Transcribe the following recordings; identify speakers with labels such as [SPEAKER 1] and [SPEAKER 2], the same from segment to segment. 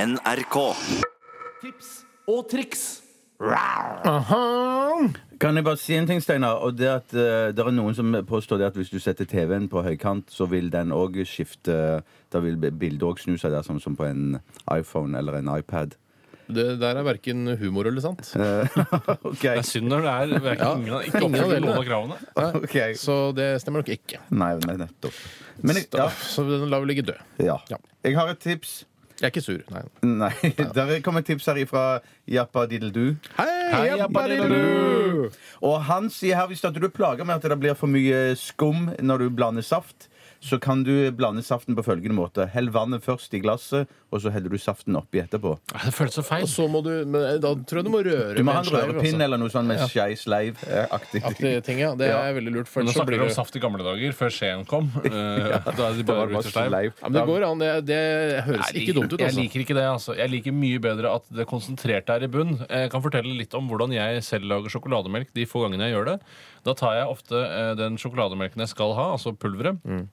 [SPEAKER 1] NRK.
[SPEAKER 2] og triks.
[SPEAKER 3] Kan jeg bare si en ting, Steinar? Og det at eh, det er noen som påstår det at hvis du setter TV-en på høykant, så vil den òg skifte Da vil bildet òg snu seg der, sånn som på en iPhone eller en iPad.
[SPEAKER 4] Det der er verken humor eller sant.
[SPEAKER 3] OK.
[SPEAKER 2] Det er synd når det er det er ikke,
[SPEAKER 4] Ja,
[SPEAKER 2] ingen,
[SPEAKER 4] ingen
[SPEAKER 2] ikke
[SPEAKER 4] av
[SPEAKER 2] oppfyller
[SPEAKER 4] delene.
[SPEAKER 2] noen av kravene.
[SPEAKER 3] Ok.
[SPEAKER 4] Så det stemmer nok ikke.
[SPEAKER 3] Nei, nei, nettopp. Men jeg, ja,
[SPEAKER 4] Så den lar vi ligge død. Ja.
[SPEAKER 3] ja. Jeg har et tips.
[SPEAKER 4] Jeg er ikke sur. Nei.
[SPEAKER 3] Nei, der kommer et tips her ifra Jappa Diddledu.
[SPEAKER 4] Hei,
[SPEAKER 2] Hei,
[SPEAKER 4] Jappadiddu!
[SPEAKER 3] Og han sier her hvis at du plager med at det blir for mye skum når du blander saft, så kan du blande saften på følgende måte. Hell vannet først i glasset, og så heller du saften oppi etterpå.
[SPEAKER 2] Nei, Det føles så
[SPEAKER 4] Og
[SPEAKER 2] feil.
[SPEAKER 4] så må du Men da tror jeg du må røre
[SPEAKER 3] Du må
[SPEAKER 4] med
[SPEAKER 3] ha en
[SPEAKER 4] sleiv,
[SPEAKER 3] rørepinn
[SPEAKER 4] altså.
[SPEAKER 3] eller noe sånn med eh, skei sleiv-aktig.
[SPEAKER 4] Aktige ting, ja. Det
[SPEAKER 3] Ja.
[SPEAKER 4] er veldig lurt. For
[SPEAKER 2] Men nå
[SPEAKER 4] ellers så
[SPEAKER 2] snakker
[SPEAKER 4] blir
[SPEAKER 2] vi om
[SPEAKER 4] det
[SPEAKER 2] saft i gamle dager, før skjeen kom. Eh, da er det bare ruter stein.
[SPEAKER 4] ja, men det går an. Det, det høres
[SPEAKER 2] Nei,
[SPEAKER 4] ikke dumt ut,
[SPEAKER 2] Jeg
[SPEAKER 4] altså.
[SPEAKER 2] liker ikke det, altså. Jeg liker mye bedre at det konsentrerte er i bunn. Jeg kan fortelle litt om hvordan jeg selv lager sjokolademelk de få gangene jeg gjør det. Da tar jeg ofte eh, den sjokolademelken jeg skal ha, altså pulveret,
[SPEAKER 4] Mm.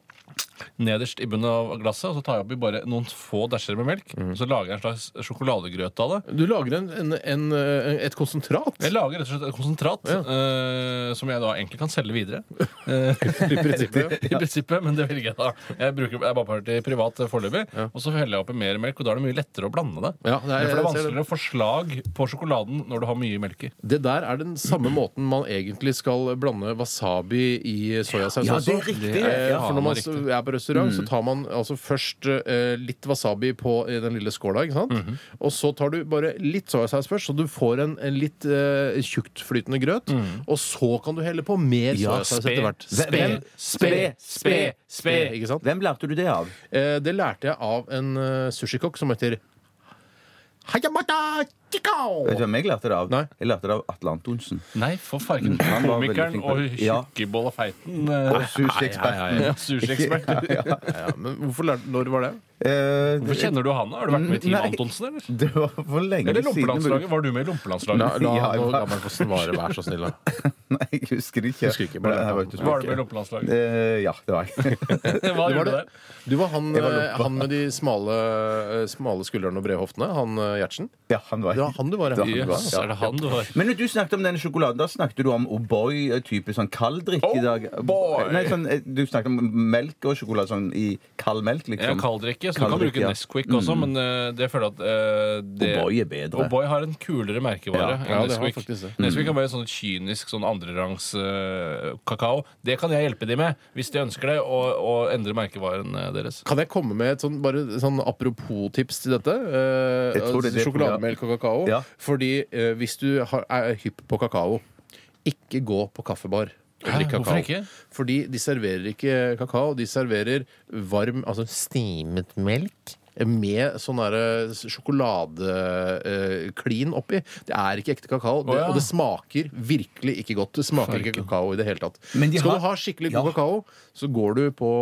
[SPEAKER 2] nederst i bunnen av glasset, og så tar jeg oppi bare noen få dæsjer med melk.
[SPEAKER 4] Mm.
[SPEAKER 2] Og så lager jeg en slags sjokoladegrøt av det.
[SPEAKER 4] Du lager en, en, en, eh, et konsentrat.
[SPEAKER 2] Jeg lager rett og slett et konsentrat eh, som jeg da egentlig kan selge videre. eh,
[SPEAKER 4] I prinsippet.
[SPEAKER 2] I prinsippet, men det vil ikke jeg da. Jeg bruker jeg bare har det til privat eh, foreløpig. Og så heller jeg oppi mer melk, og da er det mye lettere å blande det.
[SPEAKER 4] Ja, det er-
[SPEAKER 2] For det er
[SPEAKER 4] jeg ser det.
[SPEAKER 2] vanskeligere å få slag på sjokoladen når du har mye melk i.
[SPEAKER 4] Det der er den samme måten man egentlig skal blande wasabi i soyasaus
[SPEAKER 3] Ja,
[SPEAKER 4] også.
[SPEAKER 3] det er riktig. Mm.
[SPEAKER 4] Eh,
[SPEAKER 2] Ja,
[SPEAKER 4] For når man
[SPEAKER 2] det er
[SPEAKER 4] s- er på restaurant, så tar man altså først eh, litt wasabi på i den lille skåla, ikke sant?
[SPEAKER 2] Mhm.
[SPEAKER 4] Og så tar du bare litt soyasaus først, så du får en, en litt eh, tjuktflytende grøt.
[SPEAKER 2] Mm.
[SPEAKER 4] Og så kan du helle på mer soyasaus etter hvert.
[SPEAKER 3] Hvem-
[SPEAKER 4] Spe, spe, spe, ikke sant?
[SPEAKER 3] Hvem lærte du det av?
[SPEAKER 4] Eh, det lærte jeg av en eh, sushikokk som heter Hayamata Chikao.
[SPEAKER 3] Vet du hvem jeg lærte det av?
[SPEAKER 4] Nei.
[SPEAKER 3] Jeg lærte det av Atle Antonsen.
[SPEAKER 2] Nei, for fargen.
[SPEAKER 3] Mm. Han var veldig
[SPEAKER 2] Komikeren
[SPEAKER 3] flink på
[SPEAKER 2] og
[SPEAKER 3] det. Ja.
[SPEAKER 2] tjukkebollafeiten. eh,
[SPEAKER 3] Sushieksperten.
[SPEAKER 2] Sushieksperten.
[SPEAKER 4] Ja, men hvorfor lærte, når var det?
[SPEAKER 3] Eh,
[SPEAKER 2] Hvorfor kjenner du han? da? Har du vært med i Team
[SPEAKER 3] Nei.
[SPEAKER 2] Antonsen, eller?
[SPEAKER 3] Det var for lenge
[SPEAKER 2] Eller
[SPEAKER 3] siden.
[SPEAKER 2] Lompelandslaget? Var du med i Lompelandslaget?
[SPEAKER 4] La, la
[SPEAKER 3] Ja,
[SPEAKER 4] nå
[SPEAKER 3] jeg-
[SPEAKER 4] gammel få svare, vær så snill. da.
[SPEAKER 3] Nei, jeg husker ikke.
[SPEAKER 4] Husker ikke, bare-
[SPEAKER 3] Nei, jeg var ute og
[SPEAKER 2] Var du med i
[SPEAKER 3] spilte.
[SPEAKER 2] Lompelandslaget?
[SPEAKER 3] Eh, ja, det var jeg.
[SPEAKER 2] Hva
[SPEAKER 4] Du var,
[SPEAKER 2] gjorde du
[SPEAKER 4] det.
[SPEAKER 2] der?
[SPEAKER 4] du var han,
[SPEAKER 3] Jeg var
[SPEAKER 4] eh,
[SPEAKER 3] loppa.
[SPEAKER 4] han med de smale, eh, smale skuldrene og brede hoftene. Han eh, Gjertsen.
[SPEAKER 3] Ja, han var
[SPEAKER 4] Det var
[SPEAKER 3] jeg.
[SPEAKER 4] han du var,
[SPEAKER 3] Det var han du var,
[SPEAKER 2] Jøss, er det han du har?
[SPEAKER 3] Men når du snakket om denne sjokoladen, da snakket du om O'boy, type sånn kalddrikk i dag.
[SPEAKER 2] O'boy!
[SPEAKER 3] Nei, sånn, eh, du snakket om melk og sjokolade sånn i kald melk,
[SPEAKER 2] Jeg
[SPEAKER 3] liksom.
[SPEAKER 2] kalddrikke, så du kan
[SPEAKER 3] Kalddrikke,
[SPEAKER 2] bruke
[SPEAKER 3] ja.
[SPEAKER 2] Nesquik også, men eh, det føler jeg at eh, det
[SPEAKER 3] O'boy er bedre.
[SPEAKER 2] O'boy har en kulere merkevare
[SPEAKER 3] Ja, Mm.
[SPEAKER 2] enn
[SPEAKER 4] ja, det har
[SPEAKER 2] Nesquik.
[SPEAKER 4] faktisk det.
[SPEAKER 2] Nesquik kan være sånn kynisk sånn andrerangs eh, kakao. Det kan jeg hjelpe de med, hvis de ønsker det, og, og endre merkevaren eh, deres.
[SPEAKER 4] Kan jeg komme med et sånn, bare, sånn apropos-tips til dette? Eh,
[SPEAKER 3] Jeg tror det er det-
[SPEAKER 4] sjokolademelk og kakao.
[SPEAKER 3] Ja.
[SPEAKER 4] Fordi eh, hvis du har, er hypp på kakao, ikke gå på kaffebar. og
[SPEAKER 2] Hæ?
[SPEAKER 4] drikk kakao.
[SPEAKER 2] Hvorfor ikke?
[SPEAKER 4] Fordi de serverer ikke kakao, de serverer varm, altså stimet melk. Med sånn sjokoladeklin eh, oppi. Det er ikke ekte kakao. Det,
[SPEAKER 2] Å, ja.
[SPEAKER 4] Og det smaker virkelig ikke godt. Det smaker ikke kakao i det hele tatt.
[SPEAKER 3] Men de
[SPEAKER 4] Skal
[SPEAKER 3] har-
[SPEAKER 4] du ha skikkelig god
[SPEAKER 3] Ja.
[SPEAKER 4] kakao, så går du på,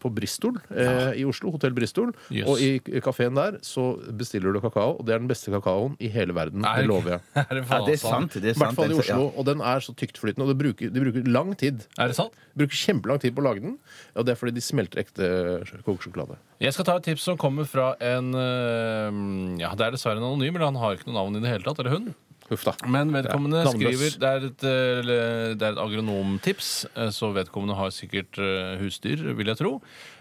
[SPEAKER 4] på Bristol eh, i Oslo. Hotell Bristol.
[SPEAKER 2] Jøss.
[SPEAKER 4] Og i kafeen der så bestiller du kakao, og det er den beste kakaoen i hele verden. Det lover jeg.
[SPEAKER 2] Er det,
[SPEAKER 3] Ja, det er sant. Det
[SPEAKER 4] I
[SPEAKER 3] er sant.
[SPEAKER 4] hvert fall i
[SPEAKER 3] Den-
[SPEAKER 4] Oslo. Og den er så tyktflytende, og det bruker, de bruker lang tid.
[SPEAKER 2] Er det sant?
[SPEAKER 4] Bruker kjempelang tid på å lage den, og det er fordi de smelter ekte kokesjokolade.
[SPEAKER 2] Jeg skal ta et tips som kommer fra en eh, Ja, det er dessverre en anonym, men han har ikke noe navn i det hele tatt. Eller hun.
[SPEAKER 4] Huff da.
[SPEAKER 2] Men vedkommende
[SPEAKER 4] Ja, navnløs.
[SPEAKER 2] skriver det er, et, eh, det er et agronomtips, eh, så vedkommende har sikkert eh, husdyr, vil jeg tro.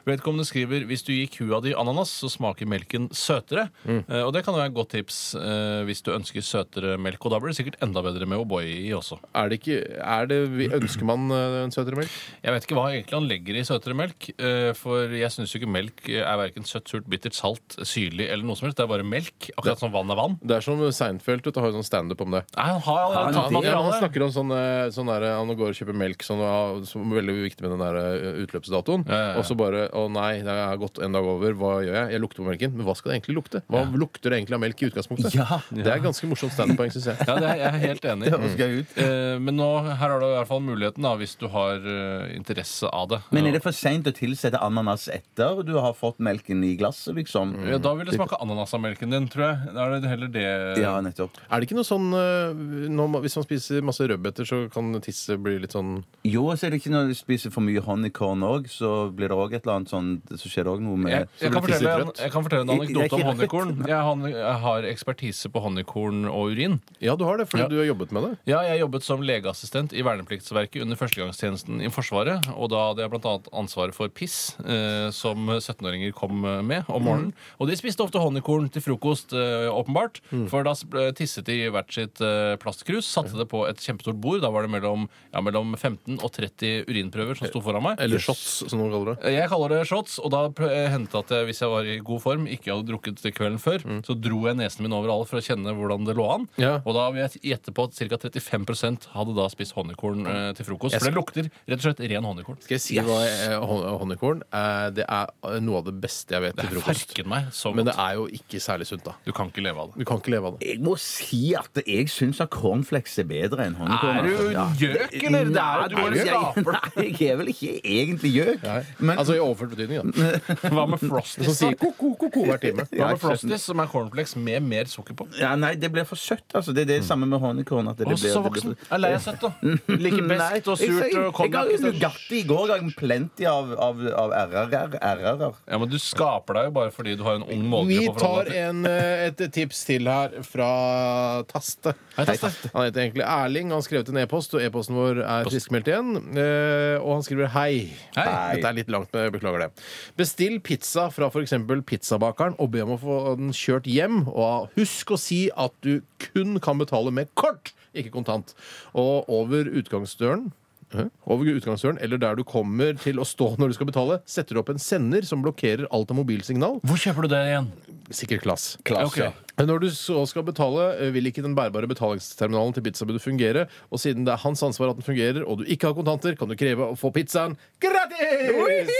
[SPEAKER 2] Vedkommende skriver hvis du gir kua di ananas, så smaker melken søtere. Eh, Og det kan jo være et godt tips eh, hvis du ønsker søtere melk. Og da blir det sikkert enda bedre med O'boy i også.
[SPEAKER 4] Er det ikke er det, vi- Ønsker man eh, en søtere melk?
[SPEAKER 2] Jeg vet ikke hva egentlig han legger i søtere melk, eh, for jeg syns jo ikke melk er verken søtt, surt, bittert, salt, syrlig eller noe som helst. Det er bare melk. Akkurat som vann er vann.
[SPEAKER 4] Det er som Seinfeld. Du har jo sånn standup om det.
[SPEAKER 2] Nei, han har allerede
[SPEAKER 4] Ja,
[SPEAKER 2] tatt
[SPEAKER 4] han
[SPEAKER 2] materialet.
[SPEAKER 4] snakker om sånn, eh, sånn der, Han går og kjøper melk, sånn, ja, som er veldig viktig med den der eh, utløpsdatoen.
[SPEAKER 2] Ja, ja, ja.
[SPEAKER 4] Og så bare Å nei, det har gått en dag over. Hva gjør jeg? Jeg lukter på melken. Men hva skal det egentlig lukte? Hva lukter det egentlig av melk i utgangspunktet?
[SPEAKER 3] Ja.
[SPEAKER 4] Det er ganske morsomt standup-poeng, syns jeg.
[SPEAKER 2] Ja, det er, jeg er helt enig.
[SPEAKER 3] høres gøy ut.
[SPEAKER 2] Eh, Men nå, her har du i hvert fall muligheten, da, hvis du har eh, interesse av det.
[SPEAKER 3] Men er det for seint å tilsette ananas etter du har fått melken i glasset, liksom?
[SPEAKER 2] Mm. ja, da vil det smake ananas av melken din, tror jeg. Da er det heller det
[SPEAKER 3] Ja, nettopp.
[SPEAKER 4] Er det ikke noe sånn eh, når man, Hvis man spiser masse rødbeter, så kan tisset bli litt sånn
[SPEAKER 3] Jo, og så er det ikke når du spiser for mye honeycorn òg, så blir det òg et eller annet sånn Så skjer det òg noe med
[SPEAKER 2] Jeg, jeg, kan
[SPEAKER 4] blir
[SPEAKER 2] fortelle en,
[SPEAKER 4] tissetrøtt.
[SPEAKER 2] jeg kan fortelle en
[SPEAKER 3] I- det er
[SPEAKER 2] anekdote om
[SPEAKER 3] ikke rett.
[SPEAKER 2] honningkorn. Jeg, han- jeg har ekspertise på honningkorn og urin.
[SPEAKER 4] Ja, du har det, fordi
[SPEAKER 2] Ja.
[SPEAKER 4] du har jobbet med det.
[SPEAKER 2] Ja, jeg jobbet som legeassistent i vernepliktsverket under førstegangstjenesten i Forsvaret. Og da hadde jeg bl.a. ansvaret for piss, eh, som 17-åringer kom eh, med om morgenen. Og de spiste ofte honningkorn til frokost, eh, åpenbart. For da s- ble- tisset de i hvert sitt eh, plastkrus, satte det på et kjempestort bord. Da var det mellom, ja, mellom 15 og 30 urinprøver som sto foran meg.
[SPEAKER 4] Eller shots, som noen kaller det.
[SPEAKER 2] Jeg kaller det shots, og da pl- eh, hendte det at jeg, hvis jeg var i god form, ikke hadde drukket til kvelden før,
[SPEAKER 3] Mm.
[SPEAKER 2] så dro jeg nesen min over alle for å kjenne hvordan det lå an.
[SPEAKER 4] Ja.
[SPEAKER 2] Og da vil jeg gjette på at ca. 35 hadde da spist
[SPEAKER 3] Mm.
[SPEAKER 2] honningkorn eh, til frokost. For det lukter rett og slett ren honningkorn.
[SPEAKER 4] Skal jeg si hva eh, hon- honningkorn eh, Det er eh, noe av det beste jeg vet til
[SPEAKER 2] Jeg
[SPEAKER 4] frokost.
[SPEAKER 2] farket meg så
[SPEAKER 4] Men det
[SPEAKER 2] godt.
[SPEAKER 4] er jo ikke særlig sunt, da.
[SPEAKER 2] Du kan ikke leve av det.
[SPEAKER 4] Du kan ikke leve av det.
[SPEAKER 3] Jeg må si at jeg syns at cornflakes er bedre enn honningkorn.
[SPEAKER 2] Er du gjøk, eller? Det er jo- du bare
[SPEAKER 3] jeg,
[SPEAKER 2] gaper.
[SPEAKER 3] nei, jeg er vel ikke egentlig gjøk. Men
[SPEAKER 4] altså i overført betydning, da.
[SPEAKER 2] Hva med Frosties?
[SPEAKER 4] Som sier ko-ko ko-ko hver time.
[SPEAKER 2] da? Hva
[SPEAKER 3] Ja,
[SPEAKER 2] med Frosties, som er cornflakes med mer sukker på?
[SPEAKER 3] ja, nei, det blir for søtt. Altså, det
[SPEAKER 4] Mm.
[SPEAKER 3] er det samme med honningkorn. at det
[SPEAKER 2] Å,
[SPEAKER 3] blir-
[SPEAKER 2] så
[SPEAKER 3] det blir-
[SPEAKER 2] voksen. Er lei av søtt, da. Liker
[SPEAKER 3] Nei,
[SPEAKER 2] best og
[SPEAKER 3] jeg
[SPEAKER 2] surt
[SPEAKER 3] sier-
[SPEAKER 2] og konjakk.
[SPEAKER 3] Jeg har jo Nugatti i går. Jeg har plenty av, av, av RR-er. RR-er.
[SPEAKER 2] Ja, men du skaper deg jo bare fordi du har en ung
[SPEAKER 4] Vi
[SPEAKER 2] målgruppe å
[SPEAKER 4] tar
[SPEAKER 2] forholde deg til.
[SPEAKER 4] en, eh, et tips til her fra Taste.
[SPEAKER 2] Hei, Taste.
[SPEAKER 4] Han heter egentlig Erling. Han skrev til en e-post, og e-posten vår er friskmeldt igjen. Eh, Og han skriver hei.
[SPEAKER 2] Hei.
[SPEAKER 4] Dette er litt langt, men jeg beklager det. Bestill pizza fra f.eks. pizzabakeren og be om å få den kjørt hjem. Og husk å si at du kun kan betale med kort, ikke kontant. Og over utgangsdøren Hæ? Over utgangsdøren, eller der du kommer til å stå når du skal betale, setter du opp en sender som blokkerer alt av mobilsignal.
[SPEAKER 2] Hvor kjøper du det igjen?
[SPEAKER 4] Sikker klass.
[SPEAKER 3] Klasse.
[SPEAKER 2] Ok.
[SPEAKER 4] Men Når du så skal betale, eh, vil ikke den bærbare betalingsterminalen til pizzabudet fungere, og siden det er hans ansvar at den fungerer, og du ikke har kontanter, kan du kreve å få pizzaen gratis!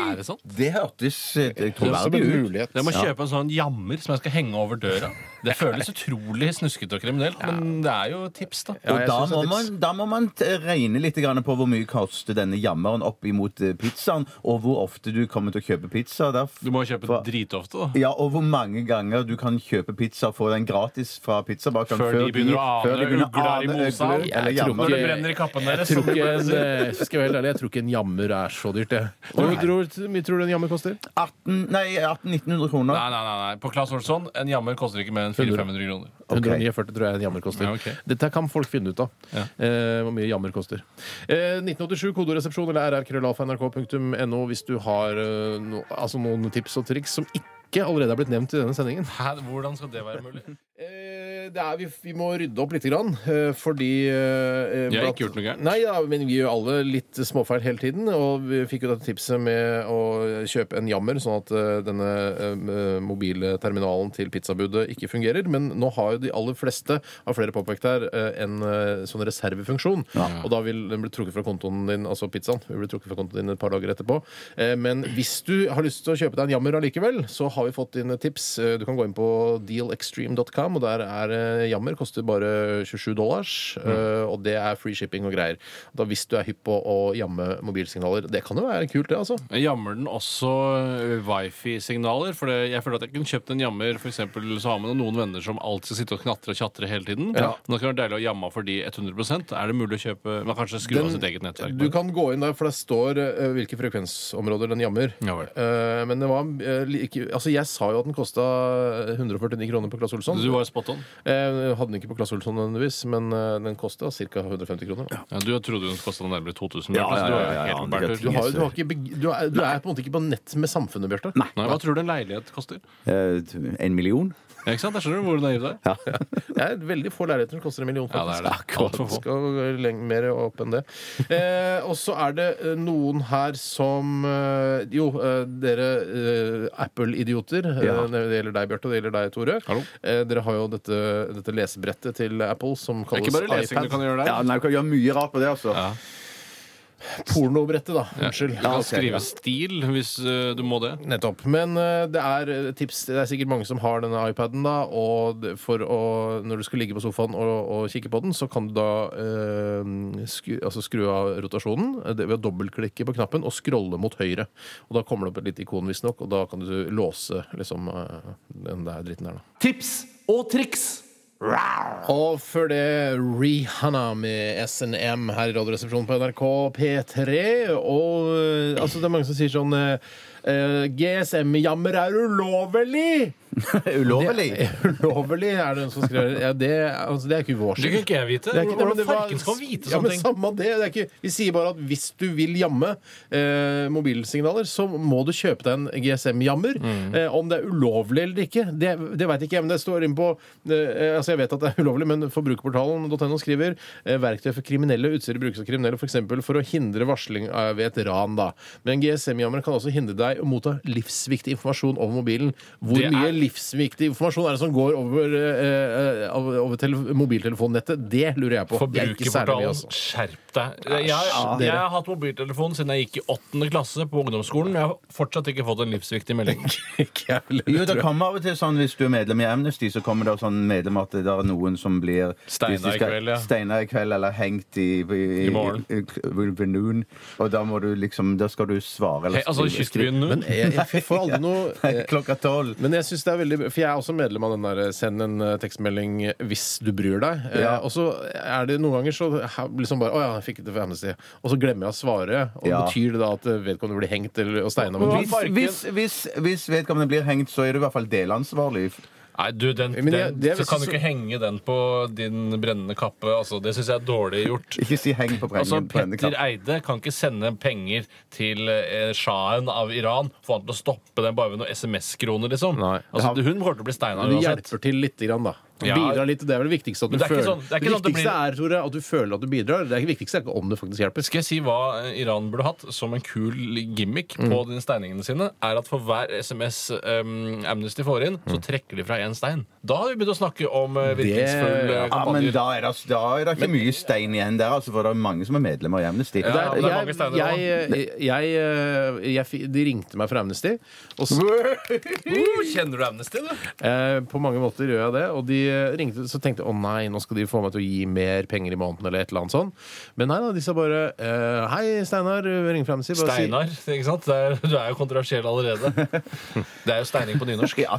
[SPEAKER 2] Er det sant?
[SPEAKER 3] Det hørtes eh,
[SPEAKER 4] Det er som
[SPEAKER 3] troverdig
[SPEAKER 4] en
[SPEAKER 3] ut.
[SPEAKER 4] mulighet.
[SPEAKER 2] Jeg må kjøpe en sånn jammer som jeg skal henge over døra. Det føles utrolig snuskete og kriminelt, men det er jo tips, da.
[SPEAKER 4] Ja,
[SPEAKER 3] Og
[SPEAKER 4] jeg
[SPEAKER 3] da
[SPEAKER 4] synes
[SPEAKER 3] må,
[SPEAKER 4] det er
[SPEAKER 3] man,
[SPEAKER 4] tips.
[SPEAKER 3] da må man t- regne litt grann på hvor mye koster denne jammeren opp imot eh, pizzaen, og hvor ofte du kommer til å kjøpe pizza. derf-
[SPEAKER 2] Du må jo kjøpe
[SPEAKER 3] fra-
[SPEAKER 2] dritofte, da.
[SPEAKER 3] ja, Og hvor mange ganger du kan kjøpe pizza og få den gratis fra pizzabakeren
[SPEAKER 2] Før de begynner å ane
[SPEAKER 3] før de begynner å
[SPEAKER 2] ugler i
[SPEAKER 3] ane
[SPEAKER 2] mosa.
[SPEAKER 3] ugler
[SPEAKER 2] Jeg
[SPEAKER 3] eller
[SPEAKER 4] tror
[SPEAKER 3] jammer.
[SPEAKER 2] Når det brenner i kappen deres.
[SPEAKER 4] Tror
[SPEAKER 2] så
[SPEAKER 4] ikke
[SPEAKER 2] bare
[SPEAKER 4] en,
[SPEAKER 2] sier-
[SPEAKER 4] eh, skal jeg, være helt ærlig, jeg tror ikke en jammer er så dyrt, det. Hvor tror- hvor mye tror du en jammer koster?
[SPEAKER 3] 18, nei, 1800-1900 kroner.
[SPEAKER 2] Nei, nei, nei, nei. På Claes Olsson, en jammer koster ikke mer enn 400-500 kroner.
[SPEAKER 3] Ok.
[SPEAKER 4] 149 tror jeg en jammer koster.
[SPEAKER 2] Ja, ok.
[SPEAKER 4] Dette kan folk finne ut av.
[SPEAKER 2] Ja.
[SPEAKER 4] Eh, hvor mye jammer koster. Eh, 1987, kodoresepsjon eller rrkrøllalfa.nrk.no hvis du har eh, no, altså noen tips og triks som ikke allerede er blitt nevnt i denne sendingen.
[SPEAKER 2] Hæ, hvordan skal det være mulig?
[SPEAKER 4] Eh, Det er, vi, vi må rydde opp litt, grann, eh, fordi
[SPEAKER 2] Vi har ikke gjort noe gærent.
[SPEAKER 4] Nei, ja, men vi gjør alle litt småfeil hele tiden. Og vi fikk jo dette tipset med å kjøpe en jammer, sånn at eh, denne eh, mobile terminalen til pizzabudet ikke fungerer. Men nå har jo de aller fleste, har flere påpekt her, eh, en eh, sånn reservefunksjon. Og da vil den bli trukket fra kontoen din, altså pizzaen, vil bli trukket fra kontoen din et par dager etterpå. Eh, Men hvis du har lyst til å kjøpe deg en jammer allikevel, så har vi fått inn tips. Eh, Du kan gå inn på dealextreme.com, og der er eh, jammer. Koster bare 27 dollars.
[SPEAKER 2] Mm.
[SPEAKER 4] eh, Og det er free shipping og greier. Da Hvis du er hypp på å jamme mobilsignaler. Det kan jo være kult, det, altså.
[SPEAKER 2] Jeg Jammer den også ø, wifi-signaler? For det, jeg føler at jeg kunne kjøpt en jammer for eksempel, så har man jo noen venner som alltid sitter og knatrer og tjatrer hele tiden. Men det kan være deilig å jamme for de 100 Er det mulig å kjøpe Man kan kanskje skru av sitt eget nettverk?
[SPEAKER 4] Du
[SPEAKER 2] bare.
[SPEAKER 4] kan gå inn der, for det står eh, hvilke frekvensområder den jammer.
[SPEAKER 2] Ja vel.
[SPEAKER 4] Eh, Men det var eh, like, Altså, jeg sa jo at den kosta 149 kroner på Claes Olsson.
[SPEAKER 2] Du var jo spot on.
[SPEAKER 4] Jeg Eh, hadde den ikke på Klasse Olsson nødvendigvis, men eh, den kosta ca. 150 kroner.
[SPEAKER 2] Ja, du trodde hun kosta nærmere 2000.
[SPEAKER 3] Ja,
[SPEAKER 2] Bjarte, så
[SPEAKER 3] ja, ja,
[SPEAKER 2] Du, er
[SPEAKER 3] ja, ja,
[SPEAKER 2] helt
[SPEAKER 3] ja,
[SPEAKER 2] på bærtur.
[SPEAKER 3] det
[SPEAKER 4] Du,
[SPEAKER 3] er
[SPEAKER 4] har, jo- du, har ikke, beg- du, er, du er på en måte ikke på nett med samfunnet, Bjarte.
[SPEAKER 2] Nei, Hva tror du en leilighet koster?
[SPEAKER 3] Eh, En million?
[SPEAKER 2] Ja, ikke sant? Der skjønner du hvor naiv du er.
[SPEAKER 4] Det er veldig få leiligheter som koster en million.
[SPEAKER 2] Ja, det er det. Alt for få.
[SPEAKER 4] Skal gå leng- mer opp enn det. Eh, og så er det eh, noen her som eh, Jo, eh, dere eh, Apple-idioter. eh,
[SPEAKER 3] Ja.
[SPEAKER 4] Det gjelder deg, Bjarte, og det gjelder deg, Tore.
[SPEAKER 2] Hallo.
[SPEAKER 4] Eh, dere har jo dette, dette lesebrettet til Apple som
[SPEAKER 2] Det er
[SPEAKER 4] kalles
[SPEAKER 2] ikke bare lesing du
[SPEAKER 4] iPad.
[SPEAKER 2] kan gjøre der.
[SPEAKER 3] Ja, nei, du kan gjøre mye rart på det, altså.
[SPEAKER 2] Ja.
[SPEAKER 4] Pornobrettet, da. Unnskyld.
[SPEAKER 2] Du kan
[SPEAKER 3] ok, ja.
[SPEAKER 2] skrive stil hvis ø, du må det.
[SPEAKER 4] Nettopp. Men eh, det er eh, tips Det er sikkert mange som har denne iPaden, da, og det- for å, når du skal ligge på sofaen og, og kikke på den, så kan du da eh, skru, altså skru av rotasjonen eh, det, ved å dobbeltklikke på knappen og scrolle mot høyre. Og da kommer det opp et lite ikon, visstnok, og da kan du låse liksom eh, den der dritten der, da.
[SPEAKER 1] Tips og triks.
[SPEAKER 4] Og før det Rihanna med SNM her i Radioresepsjonen på NRK P3. Og eh, altså, det er mange som sier sånn eh, eh, GSM-jammer er ulovlig!
[SPEAKER 3] Ulovlig!
[SPEAKER 4] Ulovlig er det en som skriver. Ja, det, altså, det er ikke vår
[SPEAKER 2] Det
[SPEAKER 4] skyld.
[SPEAKER 2] kunne ikke jeg vite.
[SPEAKER 4] Det er ikke-
[SPEAKER 2] Hvordan
[SPEAKER 4] det var-
[SPEAKER 2] farken skal vite
[SPEAKER 4] ja,
[SPEAKER 2] sånne
[SPEAKER 4] men
[SPEAKER 2] ting?
[SPEAKER 4] samme det, det er ikke, Vi sier bare at hvis du vil jamme eh, mobilsignaler, så må du kjøpe deg en GSM-jammer.
[SPEAKER 2] Mm.
[SPEAKER 4] Eh, om det er ulovlig eller ikke, det, det veit ikke jeg. Men det står inne på eh, altså Jeg vet at det er ulovlig, men forbrukerportalen.no skriver eh, verktøy for kriminelle utstyr brukes av kriminelle f.eks. For, eksempel for å hindre varsling av- ved et ran. da. Men GSM-jammer kan også hindre deg å motta livsviktig informasjon over mobilen. Hvor
[SPEAKER 2] Det er-
[SPEAKER 4] mye livsviktig informasjon er det som går over, eh, eh, over over tele- mobiltelefonnettet? Det lurer jeg på. Det er ikke særlig mye,
[SPEAKER 2] Forbrukerportalen,
[SPEAKER 4] altså.
[SPEAKER 2] skjerp deg. Jeg, jeg,
[SPEAKER 4] Æsj,
[SPEAKER 2] jeg
[SPEAKER 4] dere.
[SPEAKER 2] har hatt mobiltelefon siden jeg gikk i åttende klasse på ungdomsskolen. Jeg har fortsatt ikke fått en livsviktig melding.
[SPEAKER 4] Ikke jeg heller,
[SPEAKER 3] Jo,
[SPEAKER 4] tror
[SPEAKER 3] det
[SPEAKER 4] jeg.
[SPEAKER 3] kommer av og til sånn Hvis du er medlem i Amnesty, så kommer det sånn medlem at det er noen som blir
[SPEAKER 2] Steina
[SPEAKER 3] hvis de
[SPEAKER 2] i
[SPEAKER 3] skal-
[SPEAKER 2] kveld, ja.
[SPEAKER 3] Steina i kveld, eller hengt i I,
[SPEAKER 2] I morgen.
[SPEAKER 3] i- i- ved noon. Og da må du liksom Da skal du svare. Eller
[SPEAKER 2] Hei, altså
[SPEAKER 3] skrive- skrive-
[SPEAKER 2] kystbyen nå.
[SPEAKER 4] Men jeg, jeg får aldri noe eh,
[SPEAKER 3] Nei, Klokka tolv.
[SPEAKER 4] Men jeg synes det er veldig For jeg er også medlem av den der send en eh, tekstmelding hvis du bryr deg. Eh,
[SPEAKER 3] Ja.
[SPEAKER 4] Og så er det noen ganger så ha- liksom bare Å ja, jeg fikk det fra Amnesty. Og så glemmer jeg å svare. Og
[SPEAKER 3] Ja.
[SPEAKER 4] betyr det da at eh, vedkommende blir hengt eller og steina? Men,
[SPEAKER 3] Hvis, hvis, hvis, hvis vedkommende blir hengt, så er du i hvert fall delansvarlig.
[SPEAKER 2] Nei, du, den,
[SPEAKER 4] Men jeg-
[SPEAKER 2] den,
[SPEAKER 4] det-
[SPEAKER 2] så kan du
[SPEAKER 4] så-
[SPEAKER 2] ikke henge den på din brennende kappe. Altså, det syns jeg er dårlig gjort.
[SPEAKER 3] Ikke si heng på brenningen.
[SPEAKER 2] Altså,
[SPEAKER 3] på denne
[SPEAKER 2] Petter
[SPEAKER 3] knappen.
[SPEAKER 2] Eide kan ikke sende penger til eh, sjahen av Iran for han til å stoppe den bare ved noen SMS-kroner, liksom.
[SPEAKER 4] Nei.
[SPEAKER 2] Altså, hun kommer til å bli steina
[SPEAKER 4] du
[SPEAKER 2] uansett.
[SPEAKER 4] hjelper til lite grann, da.
[SPEAKER 2] Ja.
[SPEAKER 4] Bidrar litt. Det er vel det viktigste at du
[SPEAKER 2] Men det er ikke
[SPEAKER 4] føler
[SPEAKER 2] sånn- det er ikke sånn at det
[SPEAKER 4] viktigste
[SPEAKER 2] blir-
[SPEAKER 4] er Tore, at du føler at du bidrar. Det er ikke viktigste er ikke om du faktisk hjelper.
[SPEAKER 2] Skal jeg si hva eh, Iran burde hatt som en kul gimmick på
[SPEAKER 4] Mm.
[SPEAKER 2] de steiningene sine? Er at for hver SMS um, Amnesty får inn,
[SPEAKER 4] Mm.
[SPEAKER 2] så trekker de fra én stein. Da har vi begynt å snakke om eh, virkningsfull eh,
[SPEAKER 4] Det-
[SPEAKER 3] Ja, men
[SPEAKER 2] kampanjer.
[SPEAKER 3] da er det, da er det ikke mye stein igjen der, altså, for det er mange som er medlemmer i Amnesty.
[SPEAKER 2] Ja,
[SPEAKER 4] Der,
[SPEAKER 2] men det er mange steiner
[SPEAKER 4] jeg, jeg, jeg, eh, jeg, fi- de ringte meg fra Amnesty, og så
[SPEAKER 2] Uh, kjenner du Amnesty, du?
[SPEAKER 4] Eh, på mange måter gjør jeg det. Og de eh, ringte så tenkte jeg, å nei, nå skal de få meg til å gi mer penger i måneden. eller et eller annet sånt. Men nei da, de sa bare eh, hei, Steinar. Ring frem si, bare si-
[SPEAKER 2] Steinar, ikke sant? Det er, du er jo kontroversiell allerede. Det er jo steining på nynorsk.
[SPEAKER 3] Ja.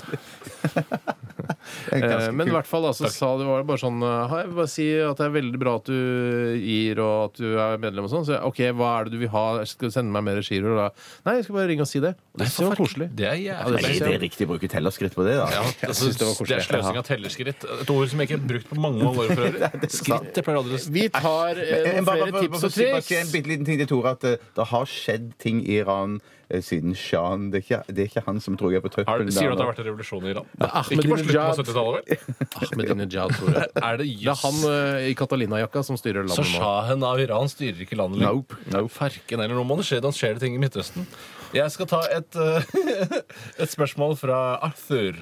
[SPEAKER 3] Det er
[SPEAKER 4] Eh,
[SPEAKER 3] ganske
[SPEAKER 4] men i
[SPEAKER 3] kult.
[SPEAKER 4] hvert fall altså, sa det var bare sånn eh, Hei, bare si at det er veldig bra at du gir og at du er medlem og sånn. Så jeg, OK, hva er det du vil ha? Skal du sende meg mer giro? da?» Nei, jeg skal bare ringe og si det. Og det var koselig.
[SPEAKER 2] Det er
[SPEAKER 4] Ja,
[SPEAKER 2] jævlig
[SPEAKER 4] det
[SPEAKER 3] Men
[SPEAKER 4] synes
[SPEAKER 3] er det riktig å bruke tellerskritt på det, da?
[SPEAKER 2] Ja,
[SPEAKER 4] Jeg
[SPEAKER 2] altså,
[SPEAKER 4] synes det var
[SPEAKER 2] det
[SPEAKER 4] koselig.
[SPEAKER 2] er sløsing av tellerskritt. Et ord som jeg ikke har brukt på mange mange år for øvrig. Skritt det pleier aldri å
[SPEAKER 4] Vi tar eh,
[SPEAKER 3] Eh,
[SPEAKER 4] noen
[SPEAKER 3] bare-
[SPEAKER 4] flere
[SPEAKER 3] bare-
[SPEAKER 4] tips og
[SPEAKER 3] bare- bare si En
[SPEAKER 4] triks.
[SPEAKER 3] bitte liten ting til Tore. At eh, det har skjedd ting i Iran eh, siden sjahen. Det, er ikke- det er ikke han som tror jeg er på
[SPEAKER 2] Har du-
[SPEAKER 3] trøppelen.
[SPEAKER 2] Sier du at det
[SPEAKER 3] der
[SPEAKER 2] har
[SPEAKER 3] nå.
[SPEAKER 2] vært en revolusjon i Iran?
[SPEAKER 4] er
[SPEAKER 2] Ikke på slutten
[SPEAKER 4] Ahmadinejad.
[SPEAKER 2] av 70-tallet, vel?
[SPEAKER 4] Ah, Ahmadinejad, Tore.
[SPEAKER 2] Er det
[SPEAKER 4] Det er
[SPEAKER 2] jøss?
[SPEAKER 4] han eh, i Catalina-jakka som styrer
[SPEAKER 2] Så
[SPEAKER 4] landet nå.
[SPEAKER 2] sjahen av Iran styrer ikke landet lenger.
[SPEAKER 3] Nope, nope.
[SPEAKER 2] Farken eller noe. Nå skjer det skjer det ting i Midtøsten. Jeg skal ta et, eh, et spørsmål fra Arthur.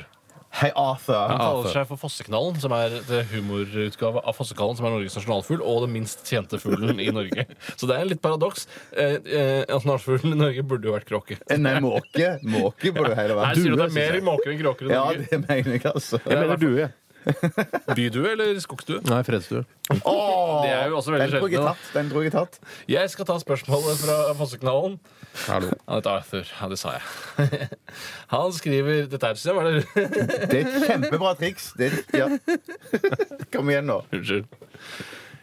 [SPEAKER 3] Hei, Arthur.
[SPEAKER 2] Han kaller seg for Fosseknallen, som er det humorutgave av Fossekallen, som er Norges nasjonalfugl, og den minst tjente fuglen i Norge. Så det er litt paradoks. Eh, eh, nasjonalfuglen i Norge burde jo vært kråke.
[SPEAKER 3] Eh, Nei, måke. Måke burde hele
[SPEAKER 2] Nei,
[SPEAKER 3] vært.
[SPEAKER 2] sier du
[SPEAKER 3] Due,
[SPEAKER 2] det er mer
[SPEAKER 3] synes jeg.
[SPEAKER 2] måker enn kråker i
[SPEAKER 3] Ja,
[SPEAKER 2] Norge?
[SPEAKER 3] det mener jeg, altså.
[SPEAKER 4] Jeg mener due.
[SPEAKER 2] Bydue eller skogsdue?
[SPEAKER 4] Nei, fredsdue.
[SPEAKER 3] Åh,
[SPEAKER 2] Det er jo også
[SPEAKER 3] den
[SPEAKER 2] veldig
[SPEAKER 3] tror jeg
[SPEAKER 2] sjelden. da.
[SPEAKER 3] tatt. Den tror jeg tatt.
[SPEAKER 2] Jeg skal ta spørsmålet fra Fosseknallen.
[SPEAKER 4] Hallo.
[SPEAKER 2] Han heter Arthur. Ja, det sa jeg. Han skriver Dette her synes jeg var det
[SPEAKER 3] Det er et kjempebra triks. Det, er- ja. Kom igjen nå.
[SPEAKER 2] Unnskyld.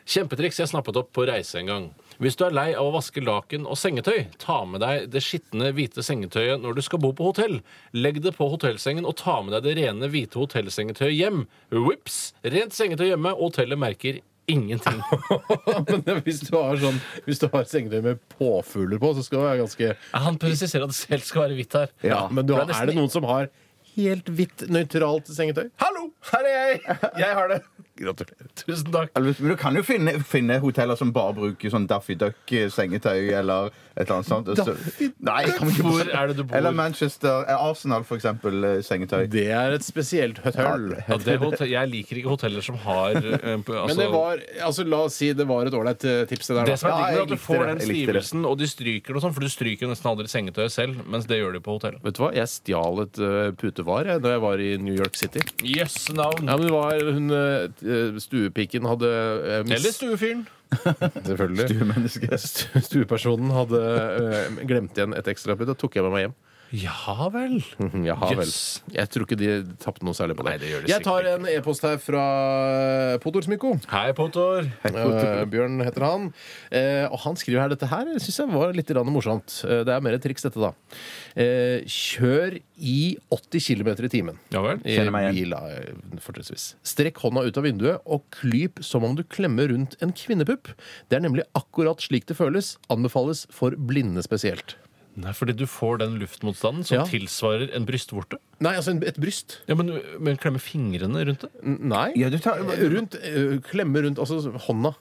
[SPEAKER 2] Kjempetriks jeg snappet opp på reise en gang. Hvis du er lei av å vaske laken og sengetøy, ta med deg det skitne, hvite sengetøyet når du skal bo på hotell. Legg det på hotellsengen og ta med deg det rene, hvite hotellsengetøyet hjem. Whips! Rent sengetøy hjemme, og hotellet merker ingenting.
[SPEAKER 4] Men hvis du har sånn Hvis du har sengetøy med påfugler på, så skal det være ganske
[SPEAKER 2] Han presiserer at det selv skal være hvitt her.
[SPEAKER 4] Ja, Men du har,
[SPEAKER 2] Det er
[SPEAKER 4] er det
[SPEAKER 2] nesten-
[SPEAKER 4] noen som har helt hvitt, nøytralt sengetøy?
[SPEAKER 2] Hallo! Her er jeg! Jeg har det.
[SPEAKER 4] Gratulerer.
[SPEAKER 2] Tusen takk.
[SPEAKER 3] Eller, men Du kan jo finne, finne hoteller som bare bruker sånn Daffy Duck-sengetøy eller et eller annet sånt. Så-
[SPEAKER 4] Daffy
[SPEAKER 3] Nei, jeg kommer ikke på-
[SPEAKER 2] Hvor er det du bor?
[SPEAKER 3] Eller Manchester. eh, Arsenal, for eksempel. eh, Sengetøy.
[SPEAKER 4] Det er et spesielt høtøl.
[SPEAKER 2] Ja, det hotell, jeg liker ikke hoteller som har eh, på- altså,
[SPEAKER 4] Men det var Altså, la oss si det var et ålreit eh, tips, det der.
[SPEAKER 2] Det som
[SPEAKER 4] Da.
[SPEAKER 2] er
[SPEAKER 3] Ja,
[SPEAKER 2] digg,
[SPEAKER 3] jeg
[SPEAKER 2] er at du
[SPEAKER 3] likte
[SPEAKER 2] får
[SPEAKER 3] det.
[SPEAKER 2] den
[SPEAKER 3] Jeg likte det.
[SPEAKER 2] stivelsen, og de stryker det og sånn, for du stryker jo nesten aldri sengetøyet selv, mens det gjør de på hotell.
[SPEAKER 4] Vet du hva, jeg stjal et eh, putevar jeg, da jeg var i New York City.
[SPEAKER 2] Jøss
[SPEAKER 4] Ja,
[SPEAKER 2] navn.
[SPEAKER 4] men det var hun eh, Stuepiken hadde eh, mis-
[SPEAKER 2] Eller stuefyren.
[SPEAKER 4] Selvfølgelig.
[SPEAKER 3] Menneske.
[SPEAKER 4] Stu- Stuepersonen hadde eh, glemt igjen et ekstrapute, og tok jeg med meg hjem.
[SPEAKER 2] Ja vel.
[SPEAKER 4] Jaha vel.
[SPEAKER 2] Jøss.
[SPEAKER 4] Jeg tror ikke de tapte noe særlig på det.
[SPEAKER 2] Nei, det gjør de
[SPEAKER 4] jeg tar en e-post her fra Podor Smyko.
[SPEAKER 2] Hei, Potor.
[SPEAKER 4] Eh, Bjørn heter han. Eh, og han skriver her dette her syns jeg var litt grann morsomt. Eh, det er mer et triks, dette, da. Eh, kjør i 80 km i timen.
[SPEAKER 2] Ja vel.
[SPEAKER 4] I
[SPEAKER 3] Kjenner meg igjen.
[SPEAKER 4] bil, da, eh, fortrinnsvis. Strekk hånda ut av vinduet og klyp som om du klemmer rundt en kvinnepupp. Det er nemlig akkurat slik det føles. Anbefales for blinde spesielt.
[SPEAKER 2] Nei, fordi du får den luftmotstanden som
[SPEAKER 4] Ja.
[SPEAKER 2] tilsvarer en brystvorte.
[SPEAKER 4] Nei, altså en- et bryst.
[SPEAKER 2] Ja, men, men klemme fingrene rundt det? Å
[SPEAKER 4] N- Nei.
[SPEAKER 3] Ja, du tar-
[SPEAKER 4] rundt, eh, klemme rundt altså hånda.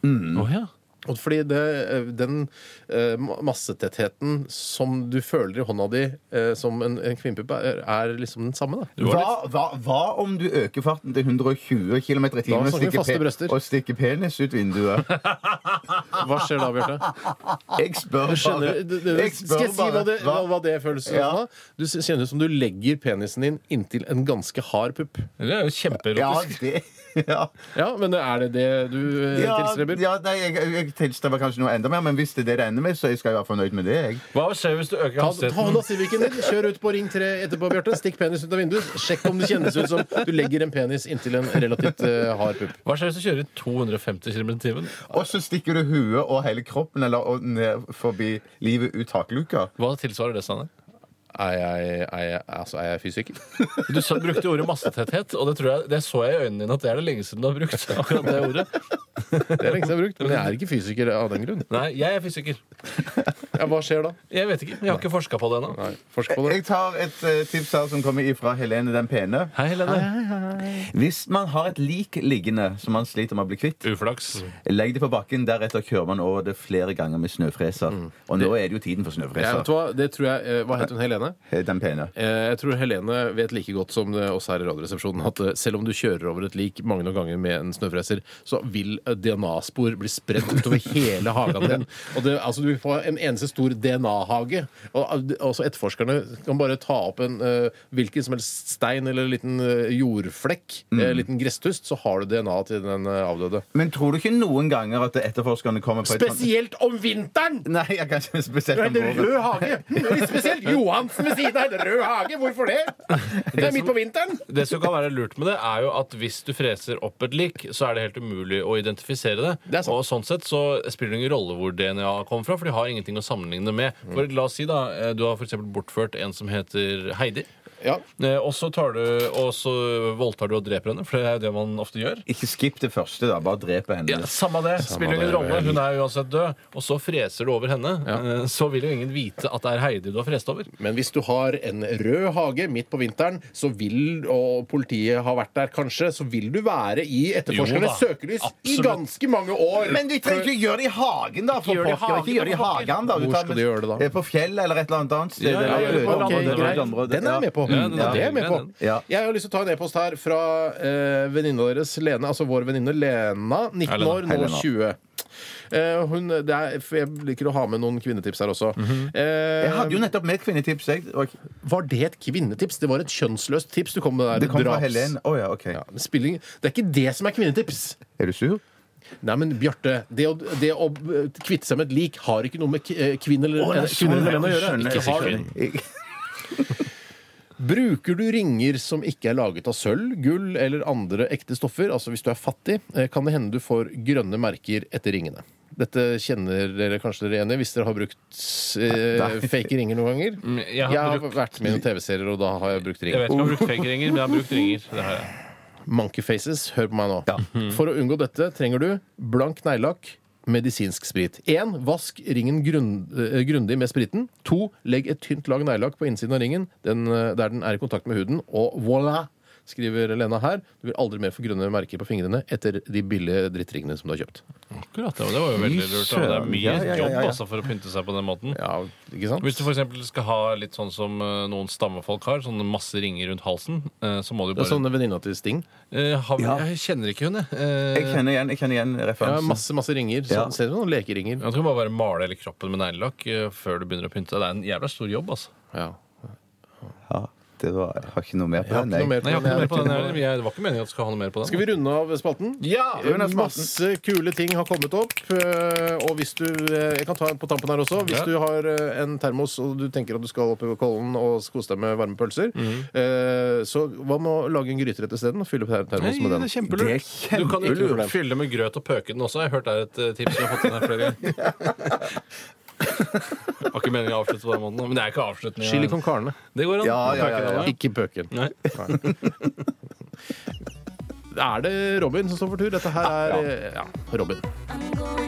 [SPEAKER 2] ja.
[SPEAKER 4] Og Fordi det, eh, den eh, ma- massetettheten som du føler i hånda di eh, som en, en kvinnepupp, er, er liksom den samme. da
[SPEAKER 2] Du var
[SPEAKER 3] Hva,
[SPEAKER 2] litt
[SPEAKER 3] hva, hva om du øker farten til 120 km i timen
[SPEAKER 4] Da
[SPEAKER 3] og
[SPEAKER 4] snakker vi
[SPEAKER 3] stikker,
[SPEAKER 4] faste brøster.
[SPEAKER 3] pe- og stikker penis ut vinduet?
[SPEAKER 4] Hva skjer da, Bjarte?
[SPEAKER 3] Jeg spør bare.
[SPEAKER 4] Skjønner du- du-
[SPEAKER 3] Jeg spør
[SPEAKER 4] Skal jeg si
[SPEAKER 3] bare.
[SPEAKER 4] hva det, hva, hva det føles som?
[SPEAKER 3] Ja.
[SPEAKER 4] da? Du s- kjenner ut som du legger penisen din inntil en ganske hard pupp.
[SPEAKER 2] Det er jo
[SPEAKER 3] Ja,
[SPEAKER 2] kjempeerotisk.
[SPEAKER 3] det ja.
[SPEAKER 4] Ja, men er det det du eh,
[SPEAKER 3] Ja,
[SPEAKER 4] tilstreber?
[SPEAKER 3] ja, nei, jeg, jeg tilstreber kanskje noe enda mer, men hvis det er det det ender med, så jeg skal jeg være fornøyd med det. Jeg.
[SPEAKER 2] Hva skjer hvis du øker
[SPEAKER 4] Ta, ta
[SPEAKER 2] hastigheten?
[SPEAKER 4] hånda siviken din, kjør ut på Ring 3 etterpå, Bjarte. Stikk penis ut av vinduet. Sjekk om det kjennes ut som du legger en penis inntil en relativt eh, hard pupp.
[SPEAKER 2] Hva skjer hvis du kjører i 250 km i timen?
[SPEAKER 3] Og så stikker du huet og hele kroppen eller og ned forbi livet ut takluka.
[SPEAKER 2] Hva tilsvarer det, Steinar?
[SPEAKER 4] Er jeg, er jeg, altså, er jeg fysiker?
[SPEAKER 2] Du sa, brukte ordet massetetthet, og det, tror jeg, det så jeg i øynene dine at det er det lenge siden du har brukt. akkurat det ordet.
[SPEAKER 4] Det er lenge siden jeg har brukt, men jeg er ikke fysiker av den grunn.
[SPEAKER 2] Nei, jeg er fysiker.
[SPEAKER 4] Ja, hva skjer da?
[SPEAKER 2] Jeg vet ikke. Jeg har ikke forska på det ennå.
[SPEAKER 4] Nei, Forsk på det.
[SPEAKER 3] Jeg tar et eh, tips her som kommer ifra Helene den pene.
[SPEAKER 2] Hei, Helene.
[SPEAKER 3] Hvis man har et lik liggende som man sliter med å bli kvitt,
[SPEAKER 2] Uflaks.
[SPEAKER 3] legg det på bakken. Deretter kjører man over det flere ganger med snøfreser. Og nå er det jo tiden for
[SPEAKER 4] Mm. Ja, vet du
[SPEAKER 3] snøfreser.
[SPEAKER 4] hva? Det tror jeg, eh, hva het hun Helene?
[SPEAKER 3] Den pene.
[SPEAKER 4] Eh, Jeg tror Helene vet like godt som det oss her i Radioresepsjonen at eh, selv om du kjører over et lik mange nok ganger med en snøfreser, så vil eh, DNA-spor bli spredt utover hele hagen din. Og det, altså, du får en eneste stor DNA-hage. Og eh, altså, etterforskerne kan bare ta opp en eh, hvilken som helst stein eller liten eh, jordflekk, eh, liten gresstust, så har du DNA til den eh, avdøde.
[SPEAKER 3] Men tror du ikke noen ganger at etterforskerne kommer på et sånt-
[SPEAKER 4] Spesielt om vinteren!
[SPEAKER 3] Nei, jeg kan ikke spesielt om
[SPEAKER 4] Det er
[SPEAKER 3] våren.
[SPEAKER 4] rød hage. Litt Spesielt Johansen ved siden av en rød hage. Hvorfor det? Det er midt på vinteren.
[SPEAKER 2] Det som kan være lurt med det, er jo at hvis du freser opp et lik, så er det helt umulig å identifisere det.
[SPEAKER 4] Det er sant.
[SPEAKER 2] og sånn sett så spiller det ingen rolle hvor DNA kommer fra, for de har ingenting å sammenligne med. For La oss si da, eh, du har for eksempel bortført en som heter Heidi.
[SPEAKER 4] Ja.
[SPEAKER 2] Eh, Og så tar du, og så voldtar du og dreper henne, for det er jo det man ofte gjør.
[SPEAKER 3] Ikke skip det første, da. Bare drep henne.
[SPEAKER 2] Ja, samme det. Spiller ingen
[SPEAKER 4] det,
[SPEAKER 2] rolle.
[SPEAKER 4] vel.
[SPEAKER 2] Hun er uansett død. Og så freser du over henne. Eh, Så vil jo ingen vite at det er Heidi du har frest over.
[SPEAKER 4] Men hvis du har en rød hage midt på vinteren, så vil, og politiet har vært der kanskje, så vil du være i
[SPEAKER 2] Jo
[SPEAKER 4] etterforskernes
[SPEAKER 2] da,
[SPEAKER 4] søkelys i
[SPEAKER 2] absolutt.
[SPEAKER 4] ganske mange år.
[SPEAKER 3] Men de trenger ikke gjøre det i hagen, da! For
[SPEAKER 2] gjør det i
[SPEAKER 3] pokker.
[SPEAKER 2] hagen,
[SPEAKER 3] Ikke gjøre det i
[SPEAKER 2] for pokker.
[SPEAKER 3] hagen, da. Du
[SPEAKER 4] Hvor
[SPEAKER 3] tar
[SPEAKER 4] skal
[SPEAKER 3] med-
[SPEAKER 4] de gjøre det, da?
[SPEAKER 3] Eh, På fjellet eller et eller annet annet sted.
[SPEAKER 2] Ja, ja,
[SPEAKER 3] eller
[SPEAKER 2] ja, ja,
[SPEAKER 3] øde område,
[SPEAKER 4] Ok,
[SPEAKER 2] det
[SPEAKER 3] øde
[SPEAKER 2] var
[SPEAKER 4] greit.
[SPEAKER 3] område.
[SPEAKER 4] Den er jeg med på.
[SPEAKER 2] Ja, den er
[SPEAKER 4] Ja, det er jeg med på.
[SPEAKER 2] grei, den.
[SPEAKER 3] Ja.
[SPEAKER 4] Jeg har lyst til å ta en e-post her fra eh, venninna deres, Lene, altså vår venninne Lena, 19
[SPEAKER 2] Helena.
[SPEAKER 4] år, nå
[SPEAKER 3] Helena.
[SPEAKER 4] 20. Eh, hun, det er, for jeg liker å ha med noen kvinnetips her også.
[SPEAKER 2] Mhm.
[SPEAKER 4] Eh,
[SPEAKER 3] Jeg hadde jo nettopp med et kvinnetips. Jeg. Og
[SPEAKER 4] Var det et kvinnetips? Det var et kjønnsløst tips du kom med der.
[SPEAKER 3] det kom fra
[SPEAKER 4] Draps.
[SPEAKER 3] Helen. Å ja, OK.
[SPEAKER 4] Ja, det spiller ingen- det er ikke det som er kvinnetips!
[SPEAKER 3] Er du sur?
[SPEAKER 4] Nei, men Bjarte, det å, det å eh, kvitte seg med et lik har ikke noe med k- eh, kvinne eller,
[SPEAKER 3] nei,
[SPEAKER 4] eh, kvinner eller menn å gjøre.
[SPEAKER 3] skjønner,
[SPEAKER 2] Ikke si
[SPEAKER 3] har du-
[SPEAKER 2] kvinne.
[SPEAKER 3] Jeg-
[SPEAKER 4] Bruker du ringer som ikke er laget av sølv, gull eller andre ekte stoffer, altså hvis du er fattig, eh, kan det hende du får grønne merker etter ringene. Dette kjenner dere kanskje dere igjen i hvis dere har brukt eh, fake ringer noen ganger.
[SPEAKER 2] Mm, jeg har
[SPEAKER 4] jeg har
[SPEAKER 2] brukt-
[SPEAKER 4] vært med i noen TV-serier, og da har jeg brukt
[SPEAKER 2] Jeg
[SPEAKER 4] ringer.
[SPEAKER 2] vet ikke om jeg har brukt fake ringer, men jeg har brukt ringer. Det har jeg.
[SPEAKER 4] Monkey faces, hør på meg nå. For å unngå dette trenger du blank neglelakk, medisinsk sprit. 1. Vask ringen grunn, eh, grundig med spriten. 2. Legg et tynt lag neglelakk på innsiden av ringen den, eh, der den er i kontakt med huden. Og voilà! skriver Lena her. Du vil aldri mer få grønne merker på fingrene etter de billige drittringene som du har kjøpt.
[SPEAKER 2] Akkurat, ja. Det var jo veldig lurt. da. Det er mye
[SPEAKER 3] Ja, ja, ja, ja, ja.
[SPEAKER 2] jobb altså, for å pynte seg på den måten.
[SPEAKER 4] Ja, ikke sant?
[SPEAKER 2] Hvis du for eksempel skal ha litt sånn som eh, noen stammefolk har, sånn masse ringer rundt halsen, eh, så må du
[SPEAKER 4] det er sånn-
[SPEAKER 2] bare
[SPEAKER 4] sånne venninna til Sting.
[SPEAKER 2] Eh, har,
[SPEAKER 3] Ja.
[SPEAKER 2] Jeg kjenner ikke hun, jeg. Eh,
[SPEAKER 3] Jeg kjenner igjen, jeg kjenner igjen
[SPEAKER 4] Ja,
[SPEAKER 3] referansen.
[SPEAKER 4] masse masse ringer. Så,
[SPEAKER 3] Ja.
[SPEAKER 4] Ser du noen lekeringer?
[SPEAKER 2] Jeg tror bare bare male hele kroppen med neglelakk eh, før du begynner å pynte deg. Det er en jævla stor jobb, altså.
[SPEAKER 4] Ja.
[SPEAKER 3] Ja. Det var, jeg har ikke noe mer på den.
[SPEAKER 4] Ikke noe
[SPEAKER 3] jeg.
[SPEAKER 4] mer
[SPEAKER 2] Nei, jeg har ikke noe mer på den her.
[SPEAKER 4] på den.
[SPEAKER 2] Jeg- Det var ikke meningen at du skulle ha noe mer på den.
[SPEAKER 4] Skal vi runde av spalten?
[SPEAKER 2] Ja!
[SPEAKER 3] Jonas Madsen.
[SPEAKER 4] Masse kule ting har kommet opp. eh, Og hvis du eh, Jeg kan ta på tampen her også. Hvis
[SPEAKER 2] Ja.
[SPEAKER 4] du har eh, en termos og du tenker at du skal opp i Kollen og kose deg med varme pølser,
[SPEAKER 2] Mhm.
[SPEAKER 4] eh, så hva med å lage en gryterett isteden? og Fylle opp ter-
[SPEAKER 2] Nei,
[SPEAKER 4] termos med
[SPEAKER 2] det
[SPEAKER 4] den.
[SPEAKER 2] er kjempelurt.
[SPEAKER 3] Det er
[SPEAKER 2] Du kan ikke
[SPEAKER 3] kjempelurt.
[SPEAKER 2] fylle med grøt og pøke den også. Jeg har hørt det er et eh, tips jeg har fått inn her flere ganger. Har ikke meningen å avslutte på den måten, men det er ikke avslutning.
[SPEAKER 4] Chili con carne.
[SPEAKER 2] Det går an.
[SPEAKER 3] Ja, ja, ja, ja.
[SPEAKER 4] Ikke pøken.
[SPEAKER 2] Nei.
[SPEAKER 4] Er det Robin som står for tur? Dette her er eh, ja, Robin.
[SPEAKER 1] I'm going